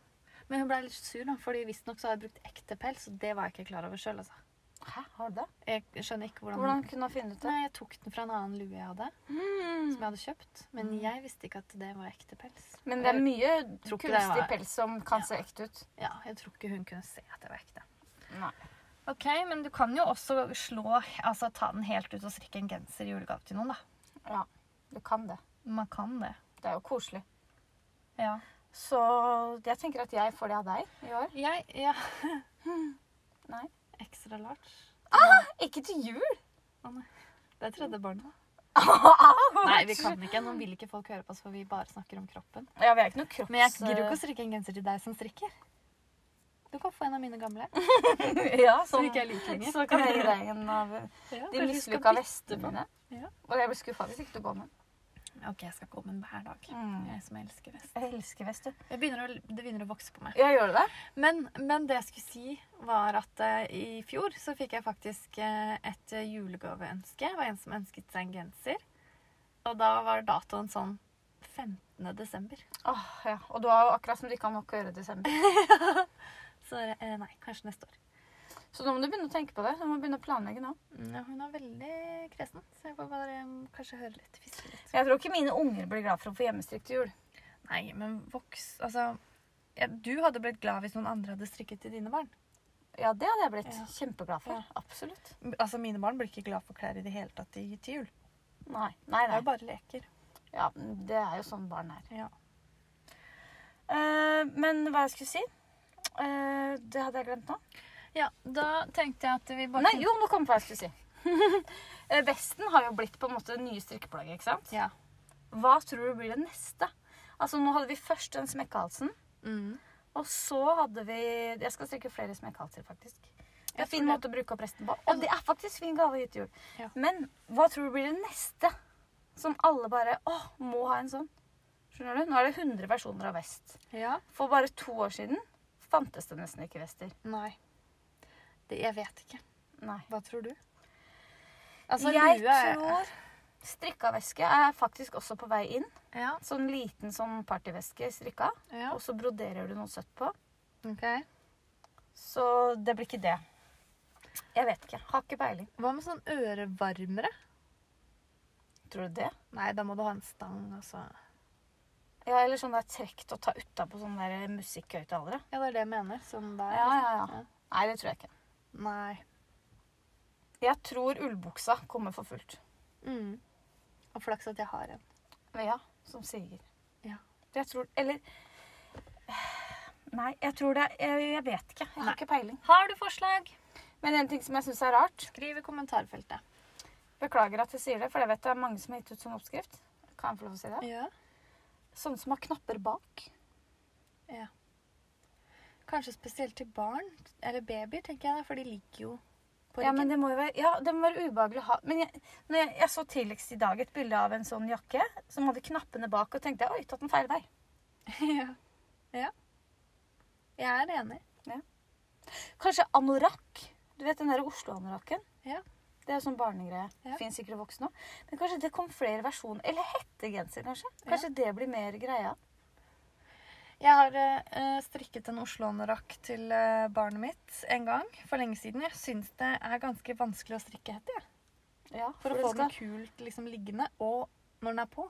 Men hun ble litt sur, da, fordi visstnok så har jeg brukt ekte pels, og det var jeg ikke klar over sjøl. Altså.
Hæ, har du det?
Jeg skjønner ikke hvordan,
Hvordan kunne du finne ut det?
Nei, jeg tok den fra en annen lue jeg hadde, som jeg hadde kjøpt. Men jeg visste ikke at Hmm. det var ekte pels.
Men det er
Jeg-
mye
tror ikke det
kunstig
var-
pels som kan
Ja.
se ekte ut.
Ja, jeg tror ikke hun kunne se at det var ekte.
Nei.
Ok, men du kan jo også slå, altså ta den helt ut og strikke en genser i julegave til noen, da.
Ja, du kan det.
Man kan det.
Det er jo koselig.
Ja.
Så jeg tenker at jeg får det av deg i år.
Jeg, ja.
Nei.
Ekstra large.
Ikke til jul!
Det er tredje barnet. Nei, vi kan ikke. Nå vil ikke folk høre på oss, for vi bare snakker om kroppen.
Ja, vi er ikke noe kropps...
Men jeg gidder jo ikke å strikke en genser til deg som strikker. Du kan få en av mine gamle.
ja,
Som
sånn,
ikke jeg liker lenger.
Så kan jeg gi deg en av
Ja,
de
kanskje vi skal
mislykka
bytte
vestene
på.
mine.
Ja.
Og jeg blir skuffa hvis ikke du går med.
Ok, jeg skal gå med den hver dag.
Mm.
Jeg som elsker vest.
Jeg elsker vest, du.
Jeg begynner å, det begynner å vokse på meg.
Ja, gjør du det?
Men, men det jeg skulle si, var at eh, i fjor så fikk jeg faktisk eh, et eh, julegaveønske. Det var en som ønsket seg en genser. Og da var datoen sånn 15. desember.
Åh, ja. Og du har jo akkurat som du ikke har nok å gjøre i desember.
Så eh, nei, kanskje neste år.
Så nå må du begynne å tenke på det. Du må begynne å planlegge nå.
Mm, Ja, hun er veldig kresen, så jeg får bare eh, kanskje høre litt, fiske litt.
Jeg tror ikke mine unger blir glad for å få hjemmestrikk til jul.
Nei, men voks Altså, ja, Du hadde blitt glad hvis noen andre hadde strikket til dine barn.
Ja, det hadde jeg blitt
Ja.
kjempeglad for.
Ja.
Absolutt.
Altså, Mine barn blir ikke glad for klær i det hele tatt i- til jul.
Nei, nei,
Det er
nei.
jo bare leker.
Ja, det er jo sånn barn er.
Ja.
Eh, men hva jeg skulle si Eh, Det hadde jeg glemt nå.
ja, Da tenkte jeg at vi bare
Nei, jo, nå kom jeg på hva jeg skulle si. Eh, Vesten har jo blitt på en måte det nye strikkeplagget. ikke sant?
Ja.
Hva tror du blir det neste? Altså, Nå hadde vi først den smekkehalsen,
Mm.
og så hadde vi Jeg skal strikke flere smekkehalser, faktisk. Det
Jeg
er en fin
tror
måte å bruke opp resten på. Og det er faktisk fin gave gitt til jul.
Ja.
Men hva tror du blir det neste? Som alle bare Å, må ha en sånn. Skjønner du? Nå er det 100 versjoner av vest.
Ja.
For bare to år siden fantes det nesten ikke vester.
Nei. Det, jeg vet ikke.
Nei.
Hva tror du? Altså,
jeg
lue er-
tror strikka veske er faktisk også på vei inn.
Ja,
Sånn liten sånn partyveske strikka.
ja.
Og så broderer du noe søtt på.
ok.
Så det blir ikke det. Jeg vet ikke. Har ikke peiling.
Hva med sånn ørevarmere?
Tror du det?
Nei, da må du ha en stang. Altså.
Ja, eller sånn der trekt å ta utapå sånne der musikkhøyttalere.
Ja, det er det jeg mener. Sånn der.
Ja, ja,
Ja.
ja. Nei, det tror jeg ikke.
Nei.
Jeg tror ullbuksa kommer for fullt.
Mm. Og flaks at jeg har en.
Ja, som sier.
Ja.
Jeg tror Eller Nei, jeg tror det Jeg, jeg vet ikke. Jeg har
Nei.
ikke peiling.
Har du forslag?
Men en ting som jeg syns er rart
Skriv i kommentarfeltet.
Beklager at jeg sier det, for jeg vet det er mange som har gitt ut sånn oppskrift. Kan jeg få lov å si det?
Ja.
Sånne som har knapper bak.
Kanskje spesielt til barn eller babyer, tenker jeg, da, for de ligger jo på
Ja,
ryggen.
men det må jo være, ja, det må være ubehagelig å ha. Men jeg, når jeg, jeg så tidligst i dag et bilde av en sånn jakke som hadde knappene bak, og tenkte jeg, oi, tatt den feil vei.
ja. ja. Jeg er enig.
Kanskje anorakk. Du vet den der Oslo-anorakken?
Ja.
Det er jo sånn barnegreie.
Ja.
Fins sikkert voksne òg. Men kanskje det kom flere versjoner. Eller hettegenser, kanskje. Kanskje det blir mer greia.
Jeg har eh, strikket en Oslo-anorakk til eh, barnet mitt en gang for lenge siden. Jeg syns det er ganske vanskelig å strikke hette. jeg.
Ja,
For, å få den kult liksom, liggende, og når den er på.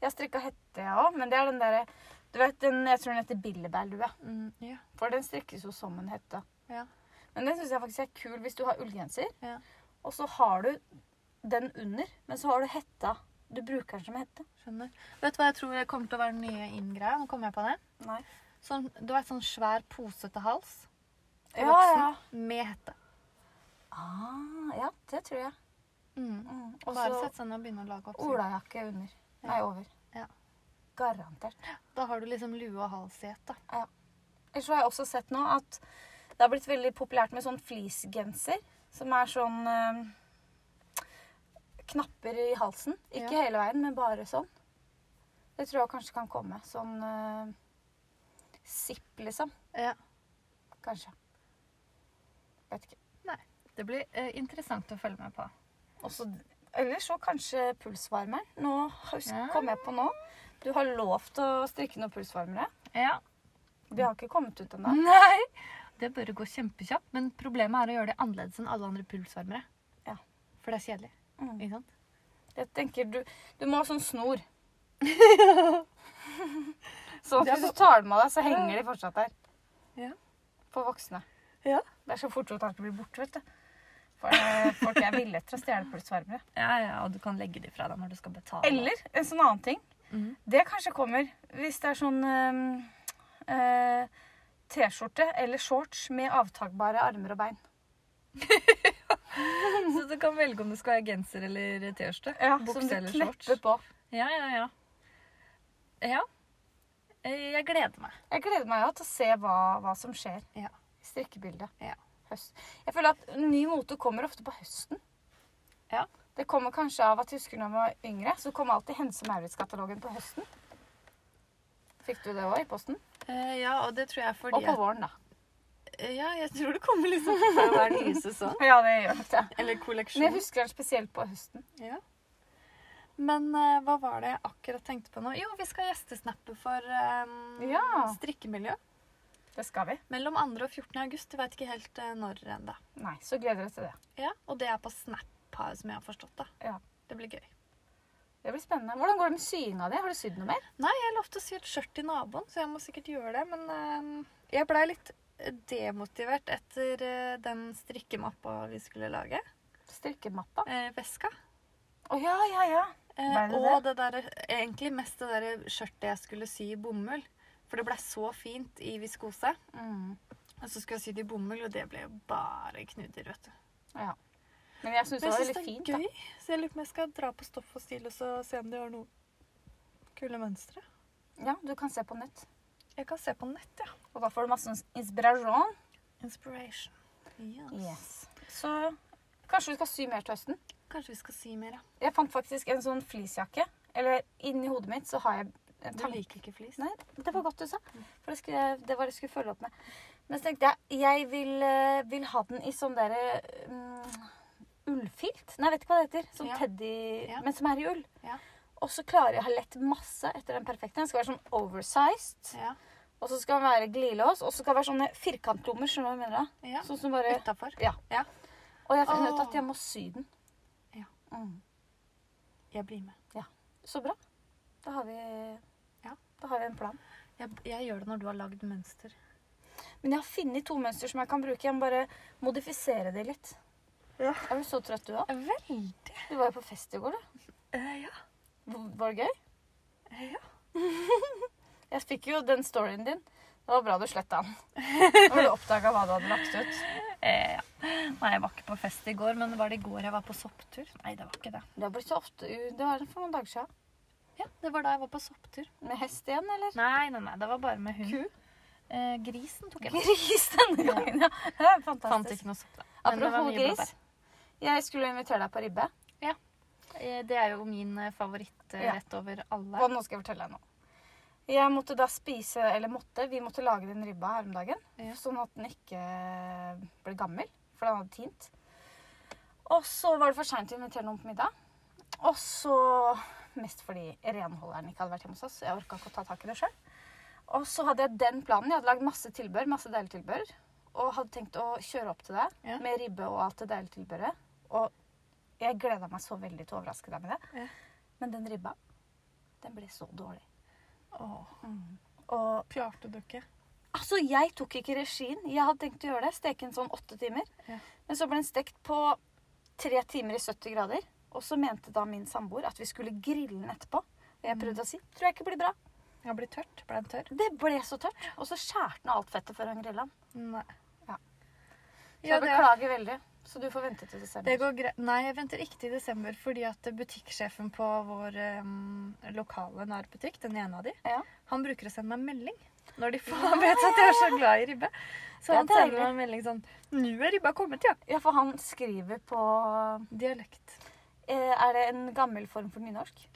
Jeg har strikka hette, jeg òg, men det er den derre Du vet, den, jeg tror den heter billebærlue.
Mm, ja.
For den strikkes jo som en hette.
Ja.
Men den syns jeg faktisk er kul hvis du har ullgenser,
Ja.
og så har du den under, men så har du hetta. Du bruker den som hette.
Skjønner. Vet du hva jeg tror kommer til å være den nye inn-greia? Nå kommer jeg på det.
Nei.
Sånn, du har et sånn svær posete hals til
Ja,
voksen
ja.
med hette.
Ah, ja, det tror jeg.
Mm.
Mm. Og
Bare
så
sette seg ned og begynne å lage oppsyn.
olajakke under. Nei, over.
Ja.
Garantert.
Da har du liksom lue og hals i ett. da.
Ellers så har jeg også sett nå at det har blitt veldig populært med sånn fleecegenser, som er sånn eh, knapper i halsen. Ikke
Ja.
hele veien, men bare sånn. Det tror jeg kanskje kan komme. Sånn uh, zipp, liksom.
Ja.
Kanskje. Vet ikke.
Det blir eh, interessant å følge med på.
Også, eller så kanskje pulsvarmeren. Nå husk,
Ja.
kom jeg på nå. Du har lovt å strikke noen pulsvarmere.
Ja.
De har ikke kommet ut ennå.
Nei! Det bør gå kjempekjapt, men problemet er å gjøre det annerledes enn alle andre pulsvarmere.
Ja.
For det er kjedelig.
Mm.
ikke sant?
Jeg tenker du, du må ha sånn snor. sånn
Det er
at hvis du tar dem av deg, så henger de fortsatt der.
Ja.
For voksne.
Ja.
Det er så fort gjort at de blir borte, vet du. For eh, folk er villige til å stjele pulsvarmere.
Ja, ja, Og du kan legge de fra deg når du skal betale.
Eller en sånn annen ting.
Mhm.
Det kanskje kommer hvis det er sånn eh, eh, T-skjorte eller shorts med avtagbare armer og bein.
Så du kan velge om du skal ha genser eller T-skjorte.
Ja,
Bukse
som du
eller shorts.
knepper på.
Ja, ja, ja. Ja. Eh, Jeg gleder meg.
Jeg gleder meg jo til å se hva, hva som skjer
Ja.
i strikkebildet.
Ja.
Høst. Jeg føler at ny mote kommer ofte på høsten.
Ja.
Det kommer kanskje av at jeg husker når jeg var yngre, så kom alltid Hense Maurits-katalogen på høsten. Fikk du det òg i posten?
Eh, ja, og det tror jeg fordi
Og på våren, da.
at- eh, Ja, jeg tror det kommer liksom fra hver nye sesong.
Ja, det gjør nok det.
Eller
Men jeg
kolleksjon.
husker den spesielt på høsten.
Ja. Men eh, hva var det jeg akkurat tenkte på nå? Jo, vi skal gjestesnappe for eh,
Ja.
strikkemiljø.
Det skal vi.
Mellom 2. og 14. august. Du veit ikke helt eh, når ennå.
Nei, så gleder jeg meg til det.
Ja, og det er på Snap, har- som jeg har forstått det.
Ja.
Det blir gøy.
Det blir spennende. Hvordan går det med syinga di? Har du sydd noe mer?
Nei, jeg lovte å sy et skjørt til naboen, så jeg må sikkert gjøre det. Men eh, jeg blei litt eh, demotivert etter eh, den strikkemappa vi skulle lage.
Strikkemappa?
eh, veska.
Å ja, ja, ja.
Eh,
Ble det
og det der, eh, egentlig mest det der skjørtet jeg skulle sy i bomull. For det blei så fint i viskose.
Mm.
Og så skulle jeg sy det i bomull, og det ble jo bare knudder, vet du.
ja. Men jeg syns
Men
det var
jeg syns
veldig
det
fint.
er
Da.
gøy, så jeg lurer på om jeg skal dra på stoff og stil og så se om de har noe kule mønstre.
Ja, Du kan se på nett.
Jeg kan se på nett, ja.
Og da får du masse inspirasjon.
Inspiration. Yes.
Yes. Så kanskje du skal sy mer til høsten?
Kanskje vi skal si mer, ja.
Jeg fant faktisk en sånn fleecejakke. Eller inni hodet mitt så har jeg en
Du
tanke-
liker Mm. ikke flis?
Nei, det var godt du sa. For det, skulle, jeg- det var det jeg skulle følge opp med. Men så tenkte jeg jeg vil, eh, vil ha den i sånn derre mm, ullfilt. Nei, jeg vet ikke hva det heter. Sånn
Ja.
teddy
Ja.
Men som er i ull.
Ja.
Og så klarer jeg å ha lett masse etter den perfekte. Den skal være sånn oversized.
Ja.
Og så skal den være glidelås. Og så skal det være sånne firkantklummer. Skjønner du hva jeg mener? da?
ja.
Sånn som bare
Utafor.
Og jeg finner ut
Åh.
at jeg må sy den.
Ja.
Mm.
Jeg blir med.
Så bra. Da har vi
Ja.
Da har vi en plan.
Jeg, jeg gjør det når du har lagd mønster.
Men jeg har funnet to mønster som jeg kan bruke. Jeg må bare modifisere de litt.
Ja.
Er du så trøtt du òg?
Veldig.
Du var jo på fest i går, du.
Eh, ja.
V- Var det gøy?
Eh,
Jeg fikk jo den storyen din. Det var bra du sletta den. Når du oppdaga hva du hadde lagt ut.
Eh, ja. Nei, jeg var ikke på fest i går, men var det i går jeg var på sopptur? Nei, det var ikke det.
Det har blitt så ofte u- Det var for noen dager siden.
Ja, det var da jeg var på sopptur.
Med hest igjen, eller?
Nei, nei, nei, det var bare med hund.
Ku?
Eh, grisen tok jeg med.
Gris denne gangen, ja. Det er
Fant
fantastisk.
ikke noe sopp, da. Men det var
Apropos
mye
gris.
blåbær.
Jeg skulle invitere deg på ribbe,
Eh, det er jo min eh, favoritt eh,
Ja.
rett over alle.
og nå skal jeg fortelle deg noe. Jeg måtte da spise, eller måtte, vi måtte lage den ribba her om dagen.
Ja.
Sånn at den ikke eh, ble gammel, for den hadde tint. Og så var det for seint å invitere noen på middag. Og så Mest fordi renholderen ikke hadde vært hjemme hos oss. så Jeg orka ikke å ta tak i det sjøl. Og så hadde jeg den planen. Jeg hadde lagd masse tilbør, masse deilig tilbør. Og hadde tenkt å kjøre opp til deg
Ja.
med ribbe og alt det deilige tilbøret. Og jeg gleda meg så veldig til å overraske deg med det.
Ja.
Men den ribba, den ble så dårlig.
Åh,
Og
klarte du ikke?
Altså, jeg tok ikke regien. Jeg hadde tenkt å gjøre det. Steke den sånn åtte timer.
Ja.
Men så ble den stekt på tre timer i 70 grader. Og så mente da min samboer at vi skulle grille den etterpå. Og jeg prøvde å si tror jeg ikke blir bra.
Jeg ble tørt. Ble den tørr?
Det ble så tørt. Og så skjærte den av alt fettet før han grilla den.
Nei.
Ja. Så
Ja,
jeg
det,
beklager veldig. Så du får vente til
det
desember.
går greit. Nei, jeg venter ikke til desember, fordi at butikksjefen på vår eh, lokale nærbutikk, den ene av de,
Ja.
Han bruker å sende meg en melding når de får vet at jeg er så glad i ribbe. Så
Det er
han sender
deilig.
meg en melding sånn 'Nå er ribba kommet, ja.'
Ja, for han skriver på
Dialekt.
eh, Er det en gammel form for nynorsk?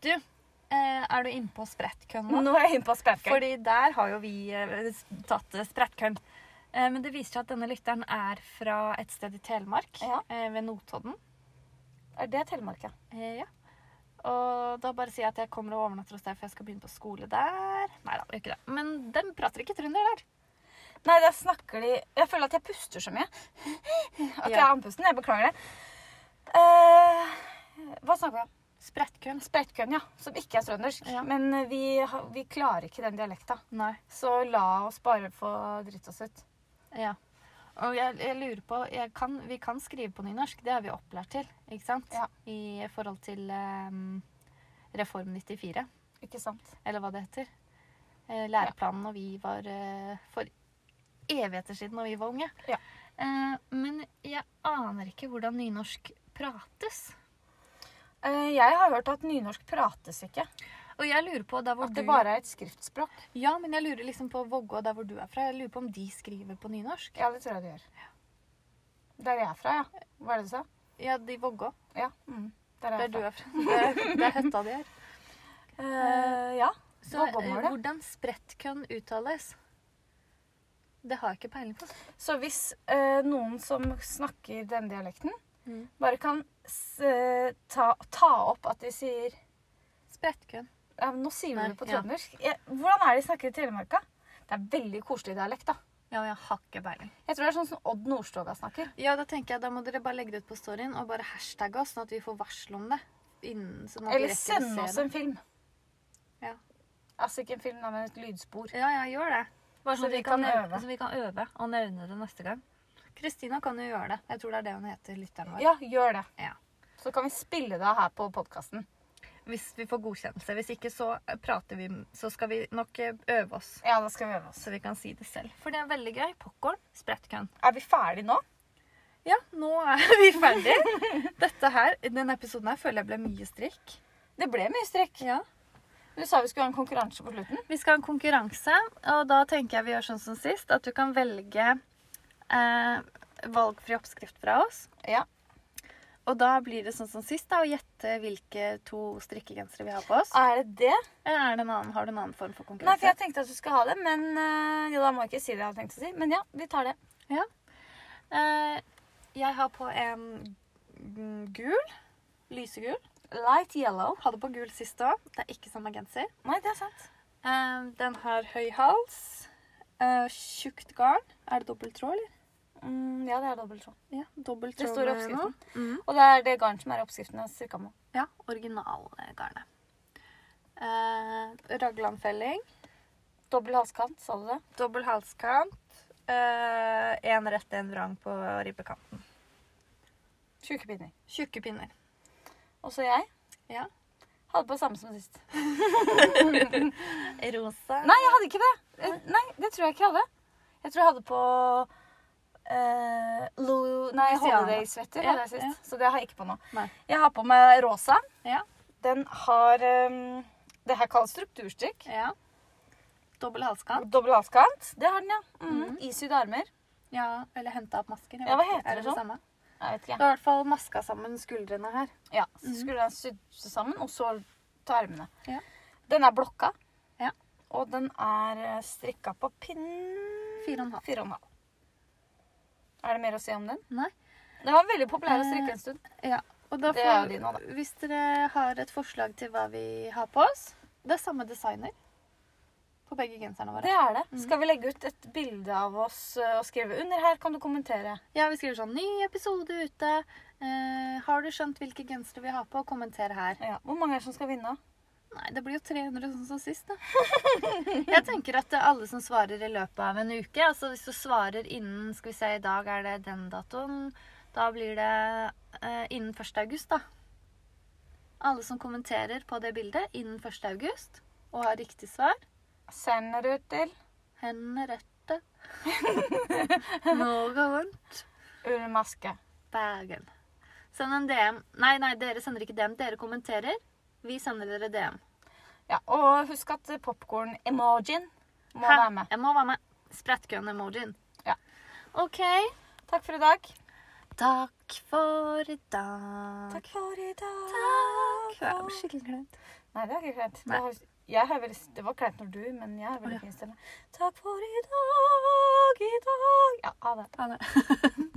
Du, eh, er du innpå sprettkøen nå?
Nå er jeg inne på spanskeren.
Fordi der har jo vi eh, s- tatt eh, sprettkøen. Eh, men det viser seg at denne lytteren er fra et sted i Telemark,
Ja.
eh, ved Notodden.
Er det Telemark, ja?
Eh, ja. Og da bare sier jeg at jeg kommer og overnatter hos deg, for jeg skal begynne på skole der. Nei da, gjør ikke det. Men den prater ikke trønder der.
Nei, der snakker de Jeg føler at jeg puster så mye. At jeg
Ja.
er andpusten. Jeg beklager det. Eh, hva snakker vi om?
Sprettkøen.
Sprettkøen, ja. Som ikke er trøndersk.
Ja.
Men eh, vi, har- vi klarer ikke den dialekta.
Nei.
Så la oss bare få dritt oss ut.
Ja. Og jeg, jeg lurer på jeg kan, Vi kan skrive på nynorsk, det er vi opplært til, ikke sant?
Ja.
I forhold til ehm, Reform 94,
Ikke sant?
eller hva det heter. Eh, læreplanen når vi var eh, For evigheter siden når vi var unge.
Ja.
Eh, men jeg aner ikke hvordan nynorsk prates.
Eh, jeg har hørt at nynorsk prates ikke.
Og jeg lurer på der hvor
At det
du
bare er et skriftspråk.
Ja, men jeg lurer liksom på Vågå, der hvor du er fra. Jeg lurer på om de skriver på nynorsk?
Ja, det tror jeg det gjør. Der jeg er fra, ja. Hva er det du sa?
Ja, de Vågå.
Ja. Mm. Der er
Der
jeg
du
fra.
er fra. Det er, det er høtta di her.
Eh, ja.
Så
Hva kommer
eh,
det?
hvordan sprettkønn uttales? Det har jeg ikke peiling på.
Så hvis eh, noen som snakker den dialekten,
Mm.
bare kan s eh, ta, ta opp at de sier
Sprettkønn.
ja, men Nå sier vi
Nei,
det på
ja.
trøndersk. Jeg- Hvordan er det de snakker i Telemarka? Det er veldig koselig dialekt, da.
Ja, jeg har ikke peiling.
Jeg tror det er sånn som Odd Nordstoga snakker.
Ja, da tenker jeg da må dere bare legge det ut på storyen og bare hashtagge oss, sånn at vi får varsel om det. innen sånn at vi
Eller
rekker å
send
se
oss
det.
en film.
Ja.
Altså ikke en film, da, men et lydspor.
Ja, ja, gjør det. Bare
Så
sånn at
vi
vi kan,
kan
øve.
øve.
Så vi kan øve og nevne det neste gang. Kristina kan jo gjøre det. Jeg tror det er det hun heter, lytteren vår.
Ja, gjør det.
Ja.
Så kan vi spille det her på podkasten.
Hvis vi får godkjennelse. Hvis ikke så eh, prater vi, så skal vi nok eh, øve oss.
Ja, da skal vi øve oss.
Så vi kan si det selv. For det er veldig gøy. Popkorn, sprettkunn.
Er vi ferdige nå?
Ja, nå er vi ferdige. Dette her, denne episoden her føler jeg ble mye strikk.
Det ble mye strekk.
Ja.
Du sa vi skulle ha en konkurranse på slutten.
Vi skal ha en konkurranse, og da tenker jeg vi gjør sånn som sist. At du kan velge eh, valgfri oppskrift fra oss.
Ja.
Og da blir det sånn som sist, da, å gjette hvilke to strikkegensere vi har på oss.
Er det det?
Eller er det en annen, har du en annen form
Nei,
for
for
konkurranse?
jeg tenkte at du skulle ha det, men eh, Jo, da må jeg ikke si det jeg hadde tenkt å si. Men ja, vi tar det.
Eh, jeg har på en gul. Lysegul.
Light yellow.
Hadde på gul sist òg. Det er ikke samme genser.
Nei, det er sant.
Eh, den har høy hals. Eh, tjukt garn. Er det dobbelttråd, eller?
Mm, ja, det er dobbelttråd.
Ja, dobbelttråd.
Det står i
med
oppskriften.
nå. Mhm.
Og det er det garn som er i oppskriften jeg strikka med.
Ja, originalgarnet. Eh, raglanfelling,
Dobbel halskant, sa du det?
dobbel halskant, én rett, én vrang på ribbekanten.
Tjukke pinner.
Tjukke pinner.
Og så jeg.
Ja.
Hadde på samme som sist.
Rosa.
Nei, jeg hadde ikke det. Eh, Nei, det tror jeg ikke jeg hadde. Jeg tror jeg hadde på eh, Lou, nei,
Louisiana.
Holiday-svetter
Ja,
hadde jeg sist. Så det har jeg ikke på nå.
Nei.
Jeg har på meg rosa.
Ja.
Den har eh, Det her kalles strukturstrikk.
Ja. Dobbel halskant.
Dobbel avskant. Det har den, ja. Mm.
Mhm.
Isyd armer.
Ja, eller henta opp masker. jeg
Ja,
vet
hva
ikke.
heter
er
det
det det
sånn?
samme?
Jeg vet
Du
ikke. Mhm.
har i hvert fall maska sammen skuldrene her.
Ja, så skulle den sydd seg sammen, og så ta armene.
Ja.
Den er blokka.
Ja.
Og den er eh, strikka på pinn
Fire og en halv.
Fire og en halv. Er det mer å si om den?
Nei.
Den var veldig populær å strikke en stund.
Ja. Og da
Det
får-
er jo din nå, da.
Hvis dere har et forslag til hva vi har på oss Det er samme designer på begge genserne våre.
Det er det. Skal vi legge ut et bilde av oss ø, og skrive under her, kan du kommentere.
Ja, vi skriver sånn 'Ny episode ute'. Eh, har du skjønt hvilke gensere vi har på? Kommenter her.
Ja. Hvor mange er det som skal vinne?
Nei, det blir jo 300 sånn som sist, da. Jeg tenker at det er alle som svarer i løpet av en uke. Altså hvis du svarer innen Skal vi se, i dag er det den datoen. Da blir det eh, innen 1. august, da. Alle som kommenterer på det bildet innen 1. august og har riktig svar,
Sender ut til
hendene rette. Noe vondt.
Ullmaske.
Bergen. Send en DM. Nei, nei, dere sender ikke DM. Dere kommenterer. Vi sender dere DM.
Ja, og husk at popkorn-emojien må
Hæ?
være med.
Jeg må være med. Sprettkøen-emojien.
Ja.
OK.
Takk for i dag.
Takk for i dag.
Takk for i dag.
Jeg ble skikkelig kleint.
Nei, det er ikke kleint.
Nei.
Det, har- jeg har veldig, det var kleint når du, men jeg har
Å, ja.
veldig fin stemme. Takk for i dag, i dag. Ja, ha det.
Ha det.